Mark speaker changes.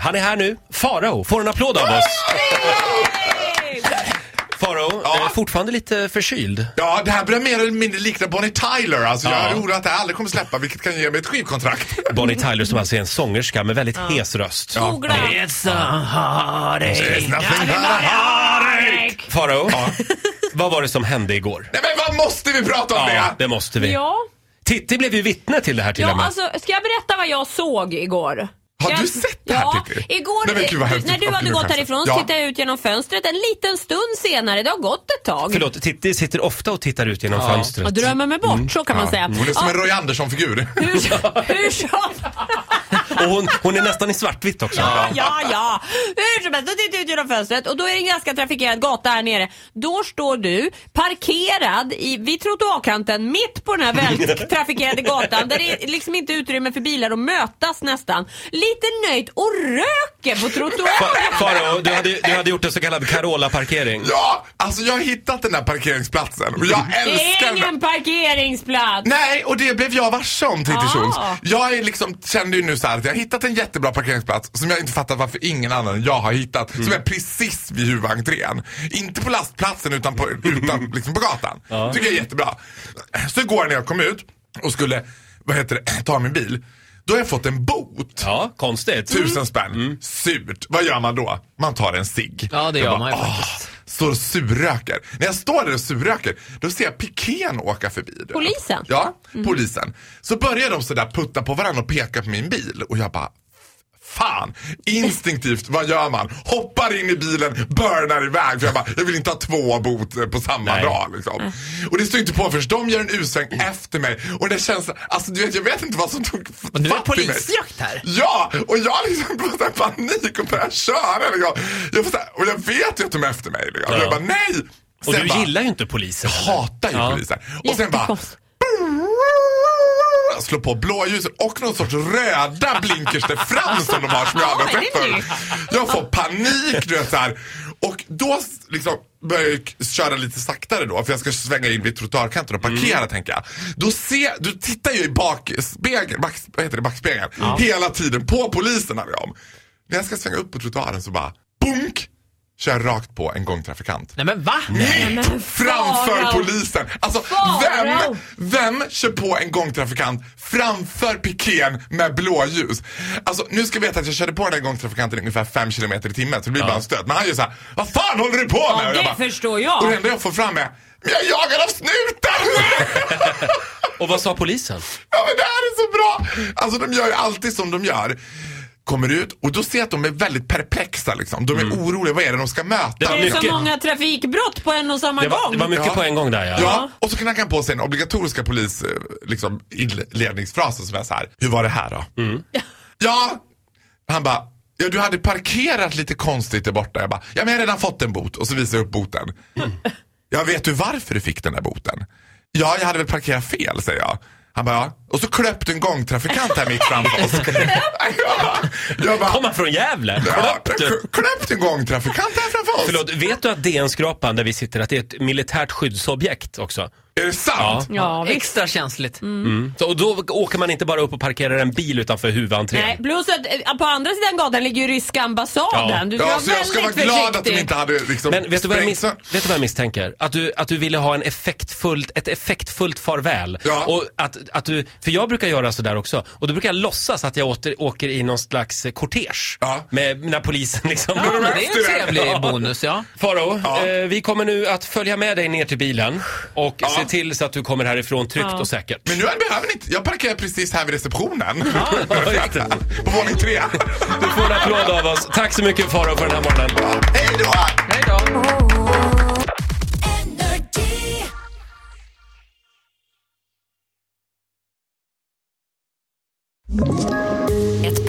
Speaker 1: Han är här nu. Farao får en applåd av oss. Farao,
Speaker 2: Ja.
Speaker 1: eh, fortfarande lite förkyld.
Speaker 2: Ja, det här börjar mer eller mindre likna Bonnie Tyler. Alltså,
Speaker 1: Ja.
Speaker 2: Jag är orolig att det här aldrig kommer släppa, vilket kan ge mig ett skivkontrakt.
Speaker 1: Bonnie Tyler som alltså är en sångerska med väldigt hes röst. Eh,
Speaker 3: Googla.
Speaker 4: It's a heartache.
Speaker 2: There's nothing but a heartache.
Speaker 1: Farao, vad var det som hände igår?
Speaker 2: Nej, men vad måste vi prata om
Speaker 1: Ja,
Speaker 2: det?
Speaker 1: det måste vi.
Speaker 3: Ja.
Speaker 1: Titti blev ju vittne till det här till och
Speaker 3: Ja,
Speaker 1: med.
Speaker 3: alltså, ska jag berätta vad jag såg igår?
Speaker 2: Har
Speaker 3: Jag-
Speaker 2: du sett det här,
Speaker 3: Ja,
Speaker 2: Titti?
Speaker 3: igår
Speaker 2: Nej, men gud, vad hemskt.
Speaker 3: när du
Speaker 2: Åh,
Speaker 3: hade
Speaker 2: gud,
Speaker 3: gått
Speaker 2: vad hemskt.
Speaker 3: härifrån så
Speaker 2: Ja.
Speaker 3: tittade jag ut genom fönstret en liten stund senare. Det har gått ett tag.
Speaker 1: Förlåt, Titti sitter ofta och tittar ut genom
Speaker 3: Jag
Speaker 1: fönstret.
Speaker 3: drömmer mig bort,
Speaker 2: Mm.
Speaker 3: så kan man säga.
Speaker 2: Hon är som
Speaker 3: Ja,
Speaker 2: en Roy Andersson-figur.
Speaker 3: hur, hur som...
Speaker 1: Och hon, hon är nästan i svartvitt också.
Speaker 3: Ja, ja, ja. Hur som helst, då tittar jag ut genom fönstret och då är det en ganska trafikerad gata här nere. Då står du parkerad i, vid trottoarkanten mitt på den här väldigt trafikerade gatan där det är liksom inte utrymme för bilar att mötas nästan. Lite nöjt och röker på trottoaren.
Speaker 1: Fa- Farao, du hade, du hade gjort en så kallad Carola-parkering.
Speaker 2: Ja, alltså jag har hittat den där parkeringsplatsen. Och Jag
Speaker 3: Det
Speaker 2: älskar
Speaker 3: är
Speaker 2: den. där-
Speaker 3: ingen parkeringsplats.
Speaker 2: Nej, och det blev jag varse om Titti
Speaker 3: Ah.
Speaker 2: Schultz. Jag är liksom, kände ju nu så här att jag har hittat en jättebra parkeringsplats som jag inte fattar varför ingen annan än jag har hittat. Som är precis vid huvudentrén. Inte på lastplatsen utan på, utan, liksom på gatan. Tycker jag är jättebra. Så igår när jag kom ut och skulle, vad heter det, ta min bil. Då har jag fått en bot.
Speaker 1: Ja, konstigt.
Speaker 4: Mm.
Speaker 2: Tusen spänn. Surt. Vad gör man då? Man tar en cigg.
Speaker 4: Ja, det
Speaker 2: Jag
Speaker 4: gör
Speaker 2: bara,
Speaker 4: man ju
Speaker 2: "Åh,
Speaker 4: faktiskt.
Speaker 2: Står och surröker. När jag står där och surröker, då ser jag pikén åka förbi. du vet.
Speaker 3: Polisen?
Speaker 2: Ja, polisen. Så börjar de sådär putta på varandra och peka på min bil och jag bara Fan! Instinktivt, vad gör man? Hoppar in i bilen, burnar iväg för jag bara, jag vill inte ha två bot eh, på samma
Speaker 1: Nej.
Speaker 2: dag. Liksom. Och det står inte på förrän de gör en U-sväng
Speaker 4: Mm.
Speaker 2: efter mig och det känns, alltså du vet, jag vet inte vad som tog
Speaker 4: Och nu är det
Speaker 2: fatt i mig.
Speaker 4: polisjakt här.
Speaker 2: Ja, och jag liksom får så här panik och börjar köra. Liksom. Jag får så här, och jag vet ju att de är efter mig. Liksom.
Speaker 1: Ja.
Speaker 2: Jag bara nej!
Speaker 1: Och
Speaker 2: Sen
Speaker 1: du
Speaker 2: bara,
Speaker 1: gillar ju inte polisen. eller?
Speaker 2: hatar ju
Speaker 1: Ja.
Speaker 2: polisen. Och sen bara
Speaker 3: Jättekonstigt.
Speaker 2: slå på blåljuset och någon sorts röda blinkers där fram som de har som jag aldrig har sett
Speaker 3: Ja, det är
Speaker 2: förut. Jag får panik du vet så här. Och då liksom börjar jag k- köra lite saktare då för jag ska svänga in vid trottoarkanten och parkera
Speaker 4: Mm.
Speaker 2: tänker jag. Då ser, du tittar ju i bakspegeln, back, vad heter det, backspegeln hela tiden på polisen hade jag om. När jag ska svänga upp på trottoaren så bara bunk! Kör jag rakt på en gångtrafikant.
Speaker 4: Nej men va?
Speaker 2: Mitt framför
Speaker 3: Farao.
Speaker 2: polisen! Alltså,
Speaker 3: Farao.
Speaker 2: vem, vem kör på en gångtrafikant framför pikén med blåljus? Alltså, nu ska vi veta att jag körde på den där gångtrafikanten ungefär 5 km i timmen, så det blir bara en stöt. Men han gör så här, vad fan håller du på med?
Speaker 3: Ja,
Speaker 2: Och jag
Speaker 3: det
Speaker 2: bara-
Speaker 3: förstår
Speaker 2: Och det
Speaker 3: jag.
Speaker 2: enda jag får fram är, men jag jagar av snuten!
Speaker 1: Och vad sa polisen?
Speaker 2: Ja men det här är så bra! Alltså de gör ju alltid som de gör. Kommer ut och då ser jag att de är väldigt perplexa liksom. De är oroliga, vad är det de ska möta?
Speaker 1: Det var
Speaker 3: Mm. Det är så
Speaker 1: Mycket.
Speaker 3: många trafikbrott på en och samma
Speaker 1: Det var,
Speaker 3: gång.
Speaker 1: det var mycket
Speaker 2: Ja.
Speaker 1: på en gång där
Speaker 2: Ja. och så knackade han på sig den obligatoriska polis, eh, liksom, inledningsfrasen som är så här. Hur var det här då? Ja, han bara. Ja, du hade parkerat lite konstigt där borta. Jag bara, ja men jag har redan fått en bot. Och så visar jag upp boten. Jag vet du varför du fick den där boten? Ja, jag hade väl parkerat fel, säger jag. Han bara, ja. Och så klöpte en gångtrafikant här mitt framför oss. jag bara, jag bara,
Speaker 1: Kom han från Gävle?
Speaker 2: ja,
Speaker 1: Knappt.
Speaker 2: klö- klöpte en gångtrafikant här framför oss.
Speaker 1: Förlåt, vet du att DN-skrapan där vi sitter, att det är ett militärt skyddsobjekt också?
Speaker 2: Är det sant?
Speaker 3: Ja, visst.
Speaker 4: Extra känsligt.
Speaker 1: Så, och då åker man inte bara upp och parkerar en bil utanför huvudentrén.
Speaker 3: Nej, plus att eh, på andra sidan gatan ligger ju ryska ambassaden.
Speaker 1: Ja.
Speaker 3: Du
Speaker 2: Ja,
Speaker 3: ska vara
Speaker 2: så jag ska vara
Speaker 3: väldigt
Speaker 2: glad att de
Speaker 3: försiktig.
Speaker 2: inte hade liksom
Speaker 1: Men vet du, vad jag
Speaker 2: sprängt
Speaker 1: mis-
Speaker 2: sö-
Speaker 1: vet du vad jag misstänker? Att du, att du ville ha en effektfullt, ett effektfullt farväl.
Speaker 2: Ja.
Speaker 1: Och att, att du, för jag brukar göra sådär också. Och då brukar jag låtsas att jag åter, åker i någon slags eh, kortege.
Speaker 2: Ja.
Speaker 1: Med, när polisen liksom...
Speaker 4: Ja, men det är
Speaker 2: efter
Speaker 4: en
Speaker 2: det.
Speaker 4: trevlig bonus ja.
Speaker 1: Faro,
Speaker 2: Ja.
Speaker 1: eh, vi kommer nu att följa med dig ner till bilen och
Speaker 2: Ja.
Speaker 1: se till så att du kommer härifrån tryggt och säkert.
Speaker 2: Men nu behöver ni inte, jag parkerar precis här vid receptionen.
Speaker 1: ja, just det.
Speaker 2: På våning tre.
Speaker 1: Du får en applåd av oss. Tack så mycket Faro för den här morgonen.
Speaker 2: Hej då!
Speaker 4: Hej då.
Speaker 5: Ett